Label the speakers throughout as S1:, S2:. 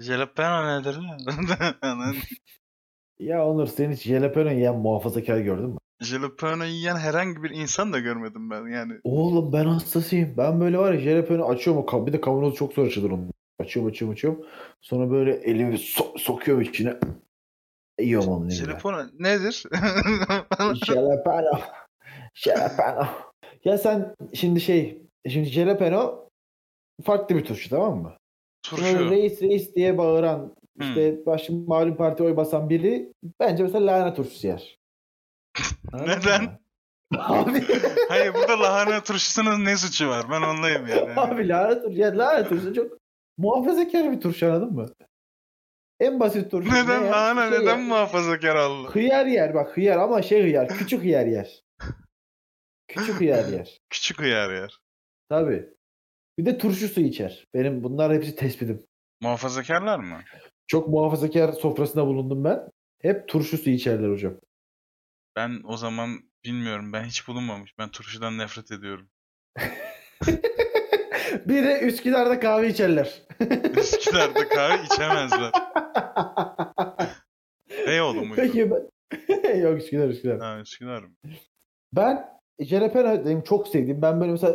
S1: Jalapeno nedir? lan?
S2: Ya Onur sen hiç jalapeno yiyen muhafazakar gördün mü?
S1: Jalapeno yiyen herhangi bir insan da görmedim ben yani.
S2: Oğlum ben hastasıyım. Ben böyle var ya jalapeno açıyorum. o ka- Bir de kavanoz çok zor açılır onun. Açıyorum açıyorum açıyorum. Sonra böyle elimi so- sokuyorum içine. Yiyorum onu. ne güzel.
S1: Jalapeno nedir?
S2: Jalapeno. Jalapeno. ya sen şimdi şey. Şimdi jalapeno farklı bir turşu tamam mı? Böyle
S1: Turşu.
S2: Reis reis diye bağıran işte baş malum parti oy basan biri bence mesela lahana turşusu yer. Anladın
S1: Neden?
S2: mı? Abi,
S1: Hayır burada lahana turşusunun ne suçu var? Ben anlayayım yani.
S2: abi lahana turşusu, ya lahana turşusu çok muhafazakar bir turşu anladın mı? En basit turşu. ne
S1: Neden
S2: yer?
S1: lahana?
S2: Şey
S1: Neden
S2: yer.
S1: muhafazakar Allah?
S2: Hıyar yer bak hıyar ama şey hıyar küçük hıyar yer. Küçük hıyar yer.
S1: Küçük uyar yer.
S2: Tabii. Bir de turşu suyu içer. Benim bunlar hepsi tespitim.
S1: Muhafazakarlar mı?
S2: Çok muhafazakar sofrasında bulundum ben. Hep turşu suyu içerler hocam.
S1: Ben o zaman bilmiyorum. Ben hiç bulunmamış. Ben turşudan nefret ediyorum.
S2: Bir de Üsküdar'da kahve içerler.
S1: Eskilerde kahve içemezler. Beyoğlu muydu?
S2: Peki ben... Yok Üsküdar Üsküdar.
S1: Ha, Üsküdar mı?
S2: Ben jalapeno dedim çok sevdiğim. Ben böyle mesela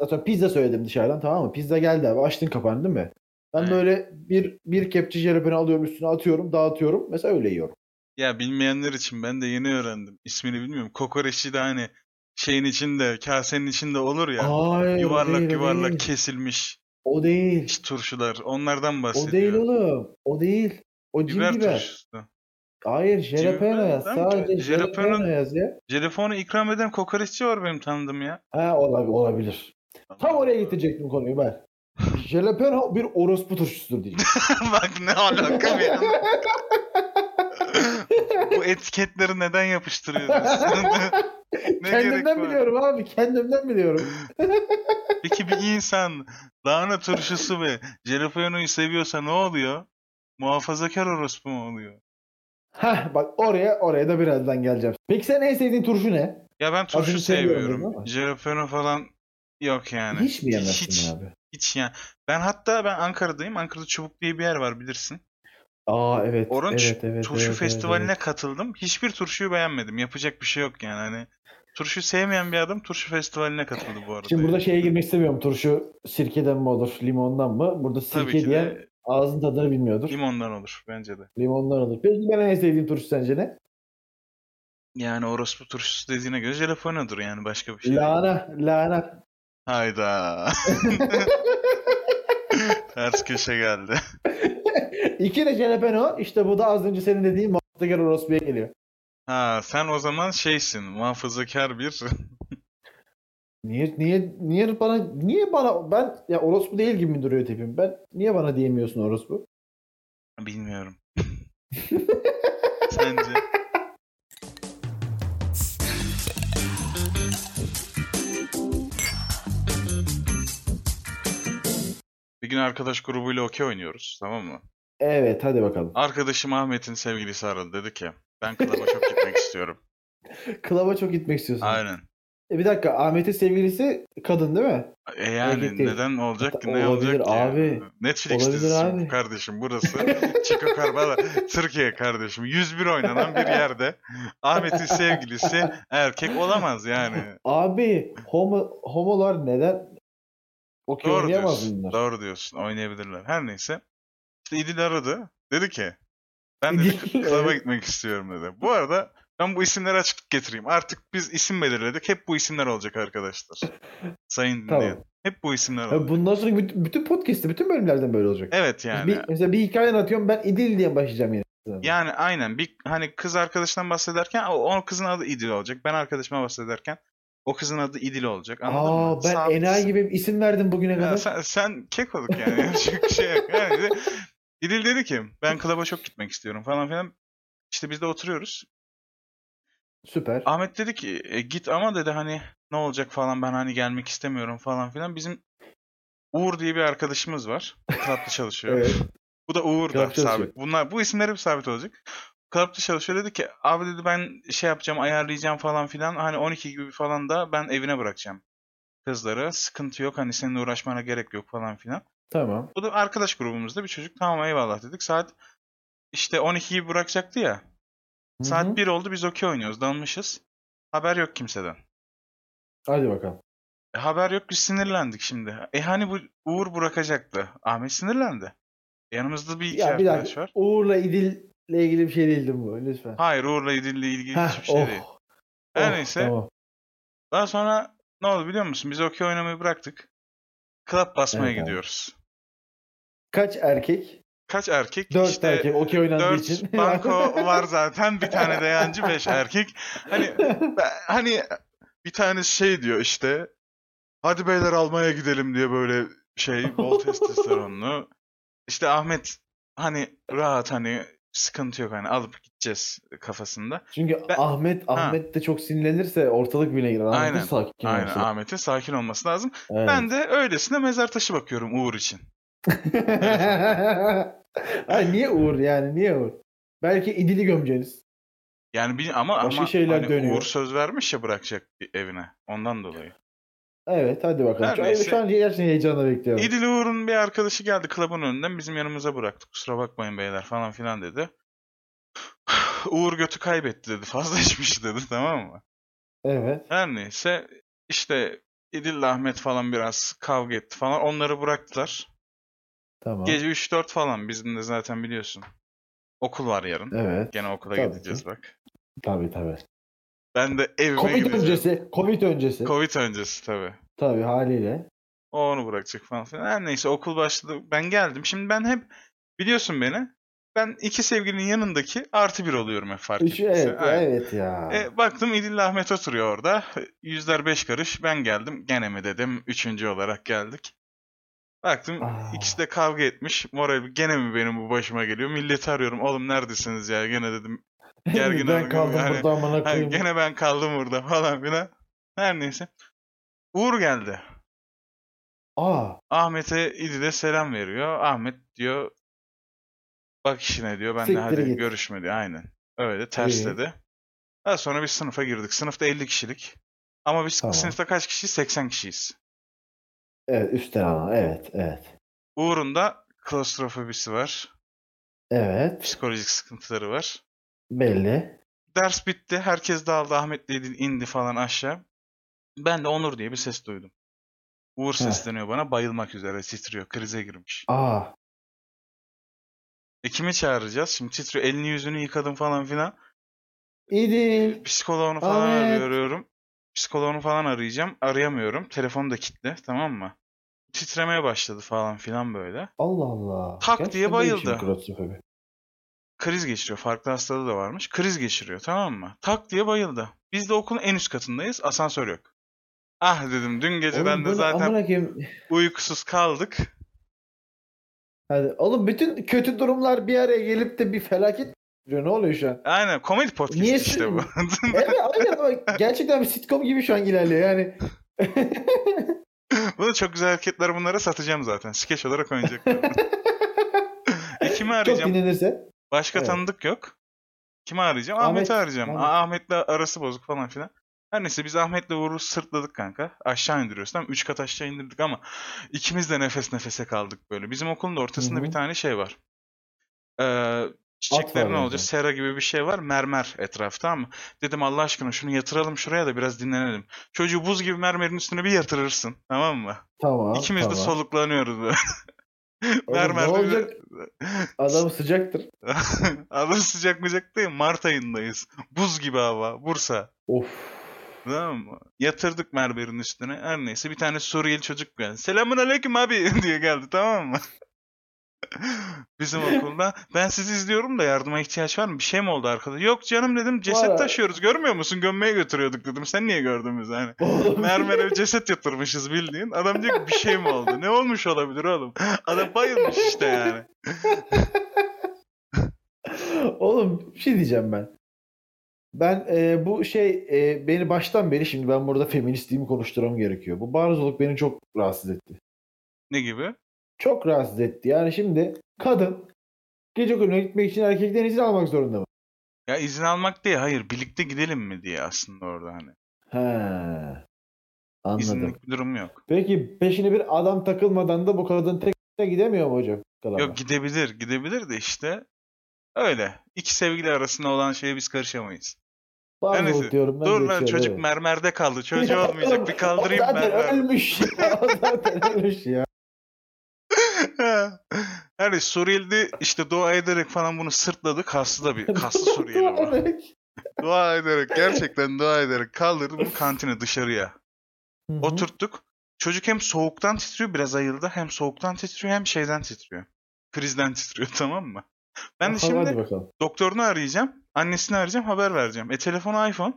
S2: atıyorum pizza söyledim dışarıdan tamam mı? Pizza geldi abi açtın kapağını değil mi? Ben
S1: Evet.
S2: böyle bir bir kepçe jalapeno alıyorum üstüne atıyorum dağıtıyorum. Mesela öyle yiyorum.
S1: Ya bilmeyenler için ben de yeni öğrendim. İsmini bilmiyorum. Kokoreçi de hani şeyin içinde, kasenin içinde olur ya.
S2: Hayır, o
S1: yuvarlak
S2: değil, o
S1: yuvarlak
S2: değil.
S1: kesilmiş
S2: O değil.
S1: iç turşular. Onlardan
S2: O
S1: bahsediyor.
S2: değil oğlum. O değil. O cim
S1: Biber
S2: biber.
S1: turşusu.
S2: Hayır
S1: biber
S2: jalapeno yaz.
S1: değil mi?
S2: Sadece
S1: Jalapeno-
S2: jalapeno yaz ya.
S1: Telefonu ikram eden kokoreççi var benim tanıdığım ya.
S2: Ha olabilir. olabilir. Tam oraya getirecektim konuyu ben. Jalapeno bir orospu turşusudur diyeceğim.
S1: Bak ne alaka bir anda. Bu etiketleri neden yapıştırıyorsun? Ne gerek var?
S2: Kendimden biliyorum abi. Kendimden biliyorum.
S1: Peki bir insan lahana turşusu ve jalapeno'yu seviyorsa ne oluyor? Muhafazakar orospu mu oluyor?
S2: Hah bak oraya oraya da birazdan geleceğim. Peki sen en sevdiğin turşu ne?
S1: Ya ben turşu
S2: Adını seviyorum dedin
S1: seviyorum.
S2: ama.
S1: Jalapeno falan yok yani.
S2: Hiç mi yemezsin
S1: Hiç.
S2: abi?
S1: Hiç yani. Ben hatta ben Ankara'dayım. Ankara'da Çubuk diye bir yer var bilirsin.
S2: Aa evet.
S1: Orange
S2: evet, evet,
S1: turşu
S2: evet, evet,
S1: festivaline
S2: evet.
S1: katıldım. Hiçbir turşuyu beğenmedim. Yapacak bir şey yok yani. Hani turşu sevmeyen bir adam turşu festivaline katıldı bu arada.
S2: Şimdi burada şey,
S1: yani.
S2: şeye girmek istemiyorum. Turşu sirkeden mi olur, limondan mı? Burada
S1: Tabii ki
S2: sirke diyen
S1: de
S2: ağzın tadını bilmiyordur.
S1: limondan olur bence de.
S2: Limondan olur. Peki ben en sevdiğim turşu sence ne?
S1: Yani orospu turşusu dediğine göre jelapenodur yani başka bir şey. değil.
S2: Lahana, lahana.
S1: Hayda. Ters köşe geldi.
S2: İki de jalapeno. İşte bu da az önce senin dediğin muhafazakar orospuya geliyor.
S1: Ha sen o zaman şeysin muhafazakar bir.
S2: Niye niye niye bana niye bana ben ya orospu değil gibi mi duruyor tipim? Ben niye bana diyemiyorsun orospu?
S1: Bilmiyorum. Sence? Bir gün arkadaş grubuyla okey oynuyoruz tamam mı?
S2: Evet hadi bakalım.
S1: Arkadaşım Ahmet'in sevgilisi aradı dedi ki ben klaba çok gitmek istiyorum.
S2: Klaba çok gitmek istiyorsun.
S1: Aynen.
S2: E bir dakika Ahmet'in sevgilisi kadın değil mi?
S1: E yani
S2: Erkek değil.
S1: neden olacak ki ne
S2: Olabilir
S1: olacak ki?
S2: abi.
S1: Netflix
S2: Olabilir
S1: dizisi bu
S2: abi.
S1: kardeşim burası. Chico Carbala Türkiye kardeşim. 101 oynanan bir yerde Ahmet'in sevgilisi erkek olamaz yani.
S2: Abi homo, homolar neden okey
S1: Doğru
S2: oynayamaz
S1: diyorsun.
S2: bunlar?
S1: Doğru diyorsun. Oynayabilirler. Her neyse. İşte İdil aradı. Dedi ki ben
S2: İdil,
S1: dedi klaba
S2: evet.
S1: gitmek istiyorum dedi. Bu arada ben bu isimleri açıklık getireyim. Artık biz isim belirledik. Hep bu isimler olacak arkadaşlar. Sayın
S2: Tamam.
S1: dinleyen. Hep bu isimler
S2: Ya
S1: olacak.
S2: bundan sonra bütün, bütün podcast'te bütün bölümlerden böyle olacak.
S1: Evet yani.
S2: Bir, mesela bir hikaye anlatıyorum ben İdil diye başlayacağım yine.
S1: Yani aynen bir hani kız arkadaşından bahsederken o, o kızın adı İdil olacak. Ben arkadaşıma bahsederken o kızın adı İdil olacak. Anladın
S2: Aa
S1: mı?
S2: ben
S1: Sabit-
S2: enayi gibi isim verdim bugüne
S1: Ya
S2: kadar.
S1: sen, sen kekoluk yani. Yapacak bir şey yok. Yani de- İdil dedi ki ben klaba çok gitmek istiyorum falan filan. İşte biz de oturuyoruz.
S2: Süper.
S1: Ahmet dedi ki "E, git ama dedi hani ne olacak falan ben hani gelmek istemiyorum falan filan. Bizim Uğur diye bir arkadaşımız var. Tatlı çalışıyor.
S2: Evet.
S1: Bu da Uğur da
S2: Club'da çalışıyor.
S1: sabit. Bunlar bu isimler hep sabit olacak. Club'da çalışıyor dedi ki abi dedi ben şey yapacağım ayarlayacağım falan filan hani 12 gibi falan da ben evine bırakacağım kızları. Sıkıntı yok hani seninle uğraşmana gerek yok falan filan.
S2: Tamam.
S1: Bu da arkadaş grubumuzda bir çocuk tamam eyvallah dedik. Saat işte 12 gibi bırakacaktı ya.
S2: Hı hı.
S1: Saat 1 oldu biz okey oynuyoruz dalmışız. Haber yok kimseden.
S2: Hadi bakalım.
S1: E, haber yok biz sinirlendik şimdi. E hani bu Uğur bırakacaktı. Ahmet sinirlendi. Yanımızda bir iki
S2: Ya bir
S1: arkadaş
S2: dakika.
S1: var.
S2: Uğur'la İdil'le ilgili bir şey değildi bu. Lütfen.
S1: Hayır Uğur'la İdil'le ilgili
S2: Heh,
S1: hiçbir şey
S2: oh,
S1: değil. Her
S2: oh,
S1: neyse.
S2: Tamam.
S1: Daha sonra ne oldu biliyor musun? Biz okey oynamayı bıraktık. Club basmaya
S2: Evet abi.
S1: gidiyoruz.
S2: Kaç erkek?
S1: Kaç erkek?
S2: Dört
S1: işte
S2: erkek. Okey oynandığı
S1: dört
S2: için.
S1: banko var zaten. Bir tane de yancı, beş erkek. Hani ben- hani bir tane şey diyor işte. Hadi beyler almaya gidelim diye böyle şey bol testosteronlu. İşte Ahmet hani rahat hani sıkıntı yok hani alıp gideceğiz kafasında.
S2: Çünkü
S1: Ben-
S2: Ahmet Ahmet de çok sinirlenirse ortalık bile girer. Ahmet
S1: Aynen,
S2: de sakin
S1: Aynen
S2: olması.
S1: Ahmet'in sakin olması lazım.
S2: Evet.
S1: Ben de öylesine mezar taşı bakıyorum Uğur için.
S2: Hayır, niye Uğur yani? Niye Uğur? Belki İdil'i gömeceğiz.
S1: Yani bir, ama
S2: Başka
S1: ama
S2: şeyler
S1: hani
S2: dönüyor.
S1: Uğur söz vermiş ya bırakacak evine. Ondan dolayı.
S2: Evet hadi bakalım.
S1: Her
S2: Şu,
S1: neyse.
S2: şu an gerçekten heyecanla bekliyorum.
S1: İdil Uğur'un bir arkadaşı geldi klubun önünden bizim yanımıza bıraktı. Kusura bakmayın beyler falan filan dedi. Uğur götü kaybetti dedi. Fazla içmiş dedi tamam mı?
S2: Evet.
S1: Her neyse işte İdil Ahmet falan biraz kavga etti falan. Onları bıraktılar.
S2: Tamam.
S1: Gece 3-4 falan bizim de zaten biliyorsun. Okul var yarın.
S2: Evet.
S1: Gene okula
S2: Tabii
S1: gideceğiz bak.
S2: Tabii tabii.
S1: Ben de evime
S2: Covid
S1: gideceğim.
S2: öncesi. Covid öncesi.
S1: Covid öncesi tabii.
S2: Tabii haliyle.
S1: O onu bırakacak falan filan. Her neyse okul başladı. Ben geldim. Şimdi ben hep biliyorsun beni. Ben iki sevgilinin yanındaki artı bir oluyorum hep fark
S2: Üç,
S1: ettiyse.
S2: evet,
S1: Aynen.
S2: evet ya.
S1: E, baktım İdil Ahmet oturuyor orada. Yüzler beş karış. Ben geldim. Gene mi dedim. Üçüncü olarak geldik. Baktım
S2: Aa.
S1: ikisi de kavga etmiş. Moral gene mi benim bu başıma geliyor? Milleti arıyorum. Oğlum neredesiniz ya? Gene dedim. gergin
S2: ben
S1: argın
S2: kaldım
S1: yani.
S2: burada amına
S1: "Ha,
S2: koyayım.
S1: gene ben kaldım burada falan filan. Her neyse. Uğur geldi.
S2: Aa,
S1: Ahmet'e İdil'e selam veriyor. Ahmet diyor bak işine diyor. Ben de
S2: Siktir
S1: hadi
S2: git."
S1: görüşme diyor. Aynen. Öyle tersledi. Daha sonra biz sınıfa girdik. Sınıfta 50 kişilik. Ama biz
S2: Tamam.
S1: sınıfta kaç kişiyiz? 80 kişiyiz.
S2: evet üstten ana. Evet, evet.
S1: Uğur'un da klostrofobisi var.
S2: Evet,
S1: Psikolojik sıkıntıları var.
S2: belli.
S1: Ders bitti. Herkes dağıldı. Ahmet de İdil indi falan aşağı. Ben de Onur diye bir ses duydum. Uğur sesleniyor bana. Bayılmak üzere titriyor. Krize girmiş.
S2: Aa,
S1: E kimi çağıracağız? Şimdi titriyor. Elini yüzünü yıkadım falan filan.
S2: İdil.
S1: Psikoloğunu falan
S2: Ahmet.
S1: arıyorum. Psikoloğunu falan arayacağım. Arayamıyorum. Telefonu da kilitli. Tamam mı? Titremeye başladı falan filan böyle.
S2: Allah Allah.
S1: Tak diye
S2: Gerçekten
S1: bayıldı.
S2: değişik klostrofobi.
S1: Kriz geçiriyor. Farklı hastalığı da varmış. Kriz geçiriyor tamam mı? Tak diye bayıldı. Biz de okulun en üst katındayız. Asansör yok. Ah dedim dün geceden
S2: Oğlum
S1: de
S2: böyle
S1: zaten
S2: amına koyayım.
S1: uykusuz kaldık.
S2: Hadi, oğlum bütün kötü durumlar bir araya gelip de bir felaket diyor. Ne oluyor şu an?
S1: Aynen komedi podcast
S2: Niye
S1: işte bu.
S2: Evet, aynen ama gerçekten bir sitcom gibi şu an ilerliyor yani.
S1: Bunu çok güzel hareketler bunlara satacağım zaten. Skeç olarak oynayacaklar. e kimi
S2: Çok
S1: arayacağım?
S2: dinlenirse.
S1: Başka
S2: Evet.
S1: tanıdık yok. Kimi arayacağım?
S2: Ahmet,
S1: Ahmet'i arayacağım.
S2: Ahmet.
S1: A- Ahmet'le arası bozuk falan filan. Her neyse biz Ahmet'le Uğur'u sırtladık kanka. Aşağı indiriyoruz. Tam 3 kat aşağı indirdik ama ikimiz de nefes nefese kaldık böyle. Bizim okulun da ortasında
S2: Hı hı.
S1: bir tane şey var. Ee,
S2: var
S1: çiçeklerin
S2: orada.
S1: olacağı sera gibi bir şey var. Mermer etrafta ama dedim Allah aşkına şunu yatıralım şuraya da biraz dinlenelim. Çocuğu buz gibi mermerin üstüne bir yatırırsın. Tamam mı?
S2: Tamam.
S1: İkimiz
S2: tamam.
S1: de soluklanıyoruz böyle.
S2: Oğlum,
S1: mermerde
S2: Ne
S1: bir-
S2: olacak? Adam sıcaktır.
S1: Hava sıcak mıcak değil. Mart ayındayız. Buz gibi hava. Bursa.
S2: Of.
S1: Tamam mı? Yatırdık mermerin üstüne. Her neyse bir tane Suriyeli çocuk geldi. Selamun aleyküm abi diye geldi tamam mı? Bizim okulda. Ben sizi izliyorum da yardıma ihtiyaç var mı? Bir şey mi oldu arkada? Yok canım dedim.
S2: Var abi.
S1: Ceset taşıyoruz. Görmüyor musun? Gömmeye götürüyorduk dedim. Sen niye gördün bizi hani?
S2: Oğlum.
S1: Mermere bir ceset yatırmışız bildiğin. Adam diyor ki bir şey mi oldu? Ne olmuş olabilir oğlum? Adam bayılmış işte yani.
S2: Oğlum bir şey diyeceğim ben. Ben e, bu şey e, beni baştan beri şimdi ben burada feministliğimi konuşturam gerekiyor. Bu barzoluk beni çok rahatsız etti.
S1: Ne gibi?
S2: Çok rahatsız etti. Yani şimdi kadın gece kulübüne gitmek için erkekten izin almak zorunda mı?
S1: Ya izin almak değil hayır birlikte gidelim mi diye aslında orada hani.
S2: He. Anladım.
S1: İzinlik bir durum yok.
S2: Peki peşine bir adam takılmadan da bu kadın tek De gidemiyor mu hocam? Galata?
S1: Yok gidebilir, gidebilir de işte. Öyle. İki sevgili arasında olan şeye biz karışamayız.
S2: Var mı
S1: Neyse,
S2: bu diyorum ben
S1: Dur lan
S2: geçiyorum,
S1: çocuk
S2: evet.
S1: mermerde kaldı. Çocuğu olmayacak. Bir kaldırayım
S2: o zaten
S1: mermerde.
S2: ölmüş. ya, o zaten ölmüş ya.
S1: yani Hani Suriyeli işte dua ederek falan bunu sırtladı. Kaslı da bir kaslı Suriyeli bu. Dua ederek gerçekten dua ederek kaldırdı bu kantine dışarıya.
S2: Hı hı.
S1: Oturttuk. Çocuk hem soğuktan titriyor biraz ayıldı. Hem soğuktan titriyor hem şeyden titriyor. Krizden titriyor tamam mı? Ben de
S2: Hadi
S1: şimdi
S2: bakalım.
S1: doktorunu arayacağım. Annesini arayacağım haber vereceğim. E telefonu iPhone.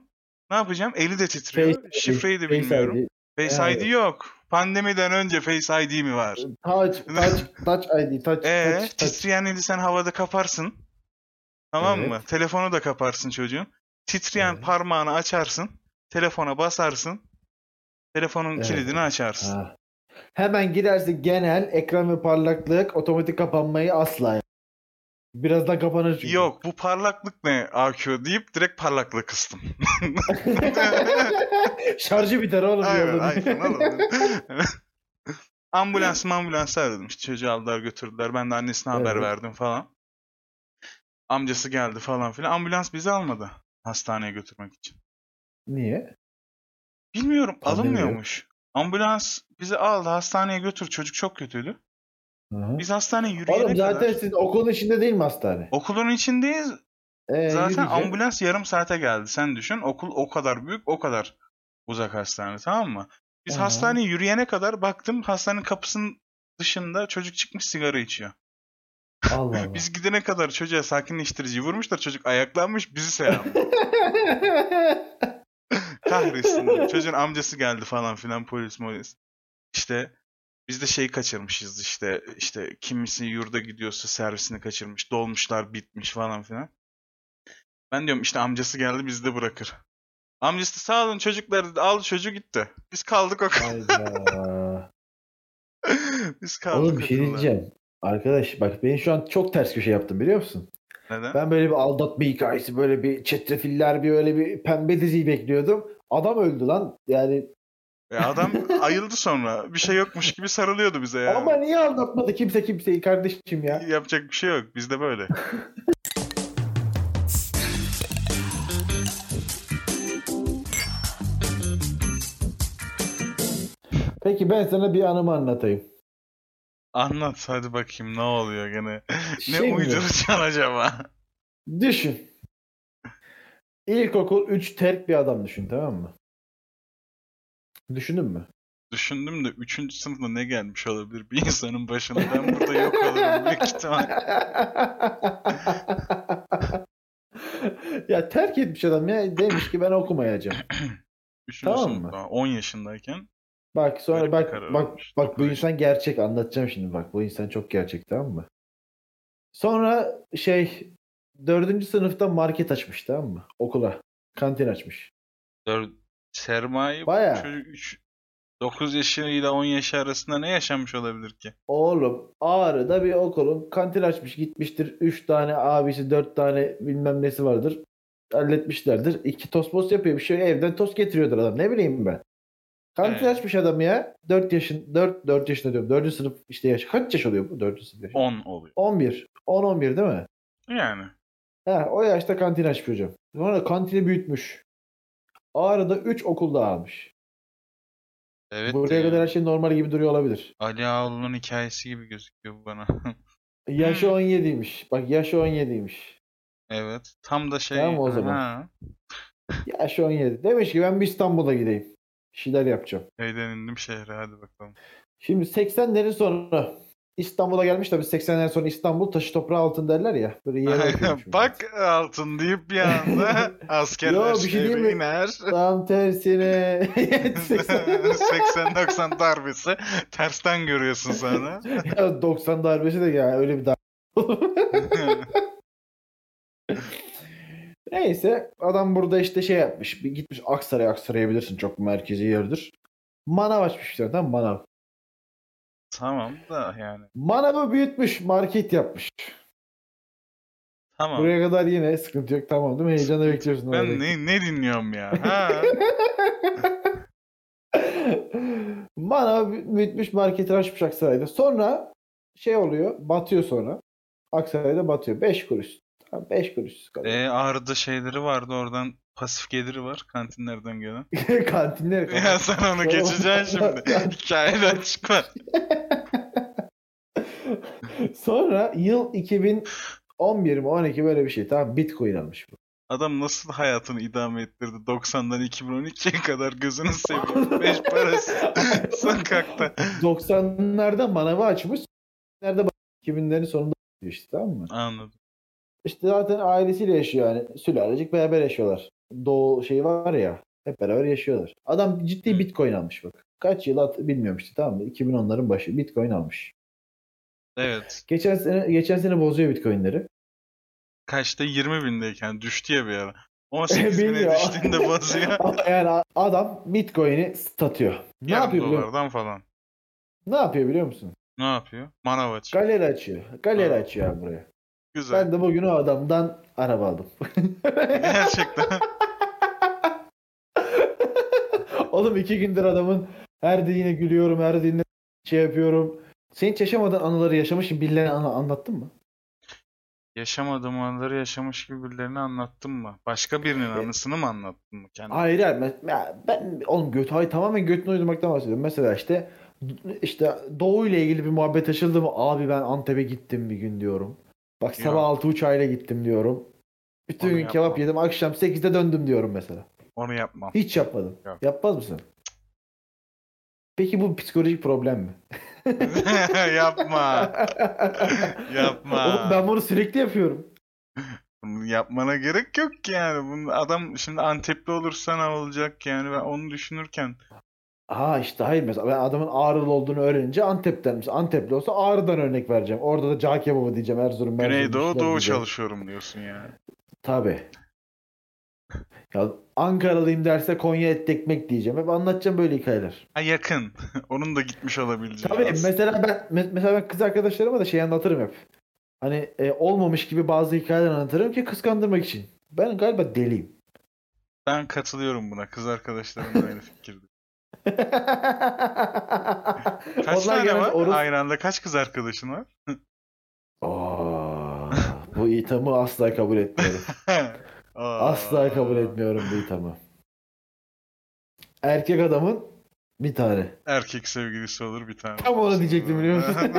S1: Ne yapacağım? Eli de titriyor.
S2: Face-
S1: Şifreyi de
S2: Face
S1: bilmiyorum.
S2: ID.
S1: Face
S2: Yani-
S1: ID yok. Pandemiden önce Face ID mi var?
S2: Touch, touch, touch ID, touch,
S1: Ee,
S2: touch, touch.
S1: titreyen eli sen havada kaparsın. Tamam mı? Telefonu da kaparsın çocuğun. Titreyen
S2: Evet.
S1: parmağını açarsın. Telefona basarsın. Telefonun
S2: Evet.
S1: kilidini açarsın.
S2: Ha. Hemen gidersin genel ekran ve parlaklık otomatik kapanmayı asla. yap. Birazdan kapanır çünkü.
S1: Yok bu parlaklık ne AQ deyip direkt parlaklığı kıstım.
S2: Şarjı biter oğlum.
S1: Aynen,
S2: yolda.
S1: iPhone alalım. ambulans ambulans aradım. İşte çocuğu aldılar götürdüler. Ben de annesine haber
S2: Evet.
S1: verdim falan. Amcası geldi falan filan. Ambulans bizi almadı hastaneye götürmek için.
S2: Niye?
S1: Bilmiyorum
S2: Pandemi yok.
S1: alınmıyormuş. Ambulans bizi aldı hastaneye götür. Çocuk çok kötüydü.
S2: Hı-hı.
S1: Biz hastaneye yürüyene
S2: Oğlum zaten
S1: kadar
S2: siz okulun içinde değil mi hastane?
S1: okulun içindeyiz.
S2: Ee,
S1: zaten
S2: yürüyecek.
S1: ambulans yarım saate geldi. Sen düşün okul o kadar büyük o kadar uzak hastane tamam mı? Biz
S2: Aha.
S1: hastaneye yürüyene kadar baktım hastanenin kapısının dışında çocuk çıkmış sigara içiyor.
S2: Allah Allah.
S1: Biz gidene kadar çocuğa sakinleştirici vurmuşlar. Çocuk ayaklanmış bizi selam. Kahretsin. dedim. Çocuğun amcası geldi falan filan polis molis. İşte biz de şeyi kaçırmışız işte işte kimisi yurda gidiyorsa servisini kaçırmış dolmuşlar bitmiş falan filan. Ben diyorum işte amcası geldi bizi de bırakır. Amcası da sağ olun çocuklar dedi aldı çocuğu gitti. Biz kaldık o
S2: Hayda.
S1: Biz kaldık
S2: Oğlum bir şey
S1: okulda.
S2: diyeceğim. Arkadaş bak ben şu an çok ters köşe yaptım biliyor musun?
S1: Neden?
S2: Ben böyle bir aldatma hikayesi, böyle bir çetrefiller, bir öyle bir pembe diziyi bekliyordum. Adam öldü lan. Yani
S1: Ya E, adam ayıldı sonra. Bir şey yokmuş gibi sarılıyordu bize yani.
S2: ama niye aldatmadı kimse kimseyi kardeşim ya?
S1: Yapacak bir şey yok. Bizde böyle.
S2: Peki ben sana bir anımı anlatayım.
S1: Anlat hadi bakayım ne oluyor gene. Ne
S2: Şimdi,
S1: uyduracaksın acaba?
S2: Düşün. İlkokul 3 terk bir adam düşün tamam mı? Düşündün mü?
S1: Düşündüm de 3. sınıfta ne gelmiş olabilir bir insanın başına? Ben burada yok olurum büyük ihtimal.
S2: ya terk etmiş adam ya demiş ki ben okumayacağım.
S1: 3.
S2: Tamam mı?
S1: sınıfta 10 yaşındayken
S2: Bak
S1: Böyle bir
S2: sonra
S1: karar
S2: bak bak
S1: almış.
S2: bak bu
S1: Böyle.
S2: insan gerçek anlatacağım şimdi bak bu insan çok gerçek tamam mı? Sonra şey dördüncü sınıfta market açmış tamam mı? Okula kantin açmış.
S1: 4 sermaye
S2: Bayağı.
S1: çocuk 3 9 yaşıyla 10 yaşı arasında ne yaşanmış olabilir ki?
S2: Oğlum Ağrı'da bir okulun kantin açmış gitmiştir. 3 tane abisi 4 tane bilmem nesi vardır. Halletmişlerdir. İki tost bost yapıyor bir şey. Evden tost getiriyordur adam. Ne bileyim ben. Kantin
S1: Evet.
S2: açmış adam ya. 4 yaşın 4 4 yaşında diyorum. 4. sınıf işte yaş. Kaç yaş oluyor bu 4. sınıf? yaşı?
S1: 10 oluyor.
S2: 11. 10 11 değil mi?
S1: Yani.
S2: Ha, o yaşta kantin açmış hocam. Sonra kantini büyütmüş. Ağrı'da 3 okul daha almış.
S1: Evet.
S2: Buraya
S1: de
S2: kadar her şey normal gibi duruyor olabilir.
S1: Ali Ağaoğlu'nun hikayesi gibi gözüküyor bu bana.
S2: Yaşı 17'ymiş. Bak yaşı 17'ymiş.
S1: evet. Tam da şey.
S2: Tamam o zaman.
S1: Ha,
S2: Yaş 17. Demiş ki ben bir İstanbul'a gideyim. Bir şeyler yapacağım.
S1: köyden indim şehre hadi bakalım.
S2: Şimdi 80'lerin sonra İstanbul'a gelmiş tabii 80'lerden sonra İstanbul taşı toprağı altın derler ya. Böyle yere oturmuş.
S1: Bak altın deyip bir anda askerler
S2: Yo, bir şey
S1: şehre
S2: diyeyim mi?
S1: iner.
S2: Tam tersine. 80.
S1: 80-90 darbesi. Tersten görüyorsun sonra.
S2: Ya 90 darbesi de ya öyle bir darbe. Neyse adam burada işte şey yapmış. Bir gitmiş Aksaray'a Aksaray'a bilirsin çok merkezi yerdir. Manav açmış bir tane, tamam mı? manav.
S1: tamam da yani.
S2: Manavı büyütmüş market yapmış.
S1: Tamam.
S2: Buraya kadar yine sıkıntı yok tamam değil mi? Heyecanla bekliyorsun.
S1: ben
S2: orada.
S1: ne, ne dinliyorum ya? Ha?
S2: Bana büyütmüş marketi açmış Aksaray'da. Sonra şey oluyor batıyor sonra. Aksaray'da batıyor. 5 kuruş. 5 kuruş kalıyor.
S1: E, Ağrı'da şeyleri vardı oradan pasif geliri var kantinlerden gelen.
S2: Kantinler
S1: ya sen onu geçeceksin şimdi. Hikayeden çıkma.
S2: Sonra yıl 2011 mi 12 böyle bir şey. Tamam Bitcoin almış bu.
S1: Adam nasıl hayatını idame ettirdi 90'dan 2012'ye kadar gözünü seveyim. Beş parası sokakta.
S2: 90'larda manavı açmış. 2000'lerde 2000'lerin sonunda işte tamam mı?
S1: Anladım.
S2: İşte zaten ailesiyle yaşıyor yani. Sülalecik beraber yaşıyorlar. Doğu şeyi var ya. Hep beraber yaşıyorlar. Adam ciddi
S1: Hı.
S2: bitcoin almış bak. Kaç yıl at bilmiyorum işte tamam mı? 2010'ların başı bitcoin almış.
S1: Evet.
S2: Geçen sene, geçen sene bozuyor bitcoinleri.
S1: Kaçta 20 bindeyken düştü ya bir ara. 18 bine
S2: Bilmiyor.
S1: düştüğünde bozuyor.
S2: yani a- adam bitcoin'i satıyor. Ne
S1: Yarım
S2: yapıyor biliyor
S1: dolardan falan.
S2: Ne yapıyor biliyor musun?
S1: Ne yapıyor? Manav aç.
S2: Galeri açıyor. Galeri
S1: Ha.
S2: açıyor abi buraya.
S1: Güzel.
S2: Ben de bugün o adamdan araba aldım.
S1: Gerçekten.
S2: Oğlum iki gündür adamın her dediğine gülüyorum, her dediğine şey yapıyorum. Sen hiç yaşamadığın anıları yaşamışsın. Birilerine anı- anlattın mı?
S1: Yaşamadığım anları yaşamış gibi birilerini anlattın mı? Başka birinin anısını mı anlattın mı kendine?
S2: Hayır hayır. Ben, ya ben oğlum göt, hayır, tamamen götünü uydurmaktan bahsediyorum. Mesela işte işte Doğu ile ilgili bir muhabbet açıldı mı? Abi ben Antep'e gittim bir gün diyorum. Bak
S1: Ya.
S2: sabah 6 uçağıyla gittim diyorum. Bütün
S1: Onu
S2: gün kebap
S1: yapma.
S2: yedim. Akşam 8'de döndüm diyorum mesela.
S1: Onu yapmam.
S2: Hiç yapmadım.
S1: Yok.
S2: Yapmaz mısın? Peki bu psikolojik problem mi?
S1: Yapma. Yapma.
S2: Oğlum ben bunu sürekli yapıyorum.
S1: Bunu yapmana gerek yok ki yani. Bunu adam şimdi Antepli olursa ne olacak yani ben onu düşünürken.
S2: Ha işte hayır mesela ben adamın Ağrılı olduğunu öğrenince Antep'ten mesela Antepli olsa Ağrı'dan örnek vereceğim. Orada da cağ kebabı diyeceğim Erzurum. Erzurum
S1: Güneydoğu
S2: işler
S1: Doğu
S2: diyeceğim.
S1: çalışıyorum diyorsun yani.
S2: Tabii. Ya Ankaralıyım derse Konya et ekmek diyeceğim. Hep anlatacağım böyle hikayeler.
S1: Ha yakın. Onun da gitmiş olabileceği.
S2: Tabii
S1: aslında.
S2: mesela ben me- mesela ben kız arkadaşlarıma da şey anlatırım hep. Hani e, olmamış gibi bazı hikayeler anlatırım ki kıskandırmak için. Ben galiba deliyim.
S1: Ben katılıyorum buna. Kız arkadaşlarım da aynı fikirde. Kaç
S2: Onlar
S1: tane
S2: genelde
S1: var?
S2: Orus-
S1: Aynı anda kaç kız arkadaşın var?
S2: Aa, bu ithamı asla kabul etmiyorum.
S1: Aa.
S2: Asla kabul etmiyorum bu ithamı. Erkek adamın bir tane.
S1: Erkek sevgilisi olur bir tane.
S2: Tam onu diyecektim biliyor musun?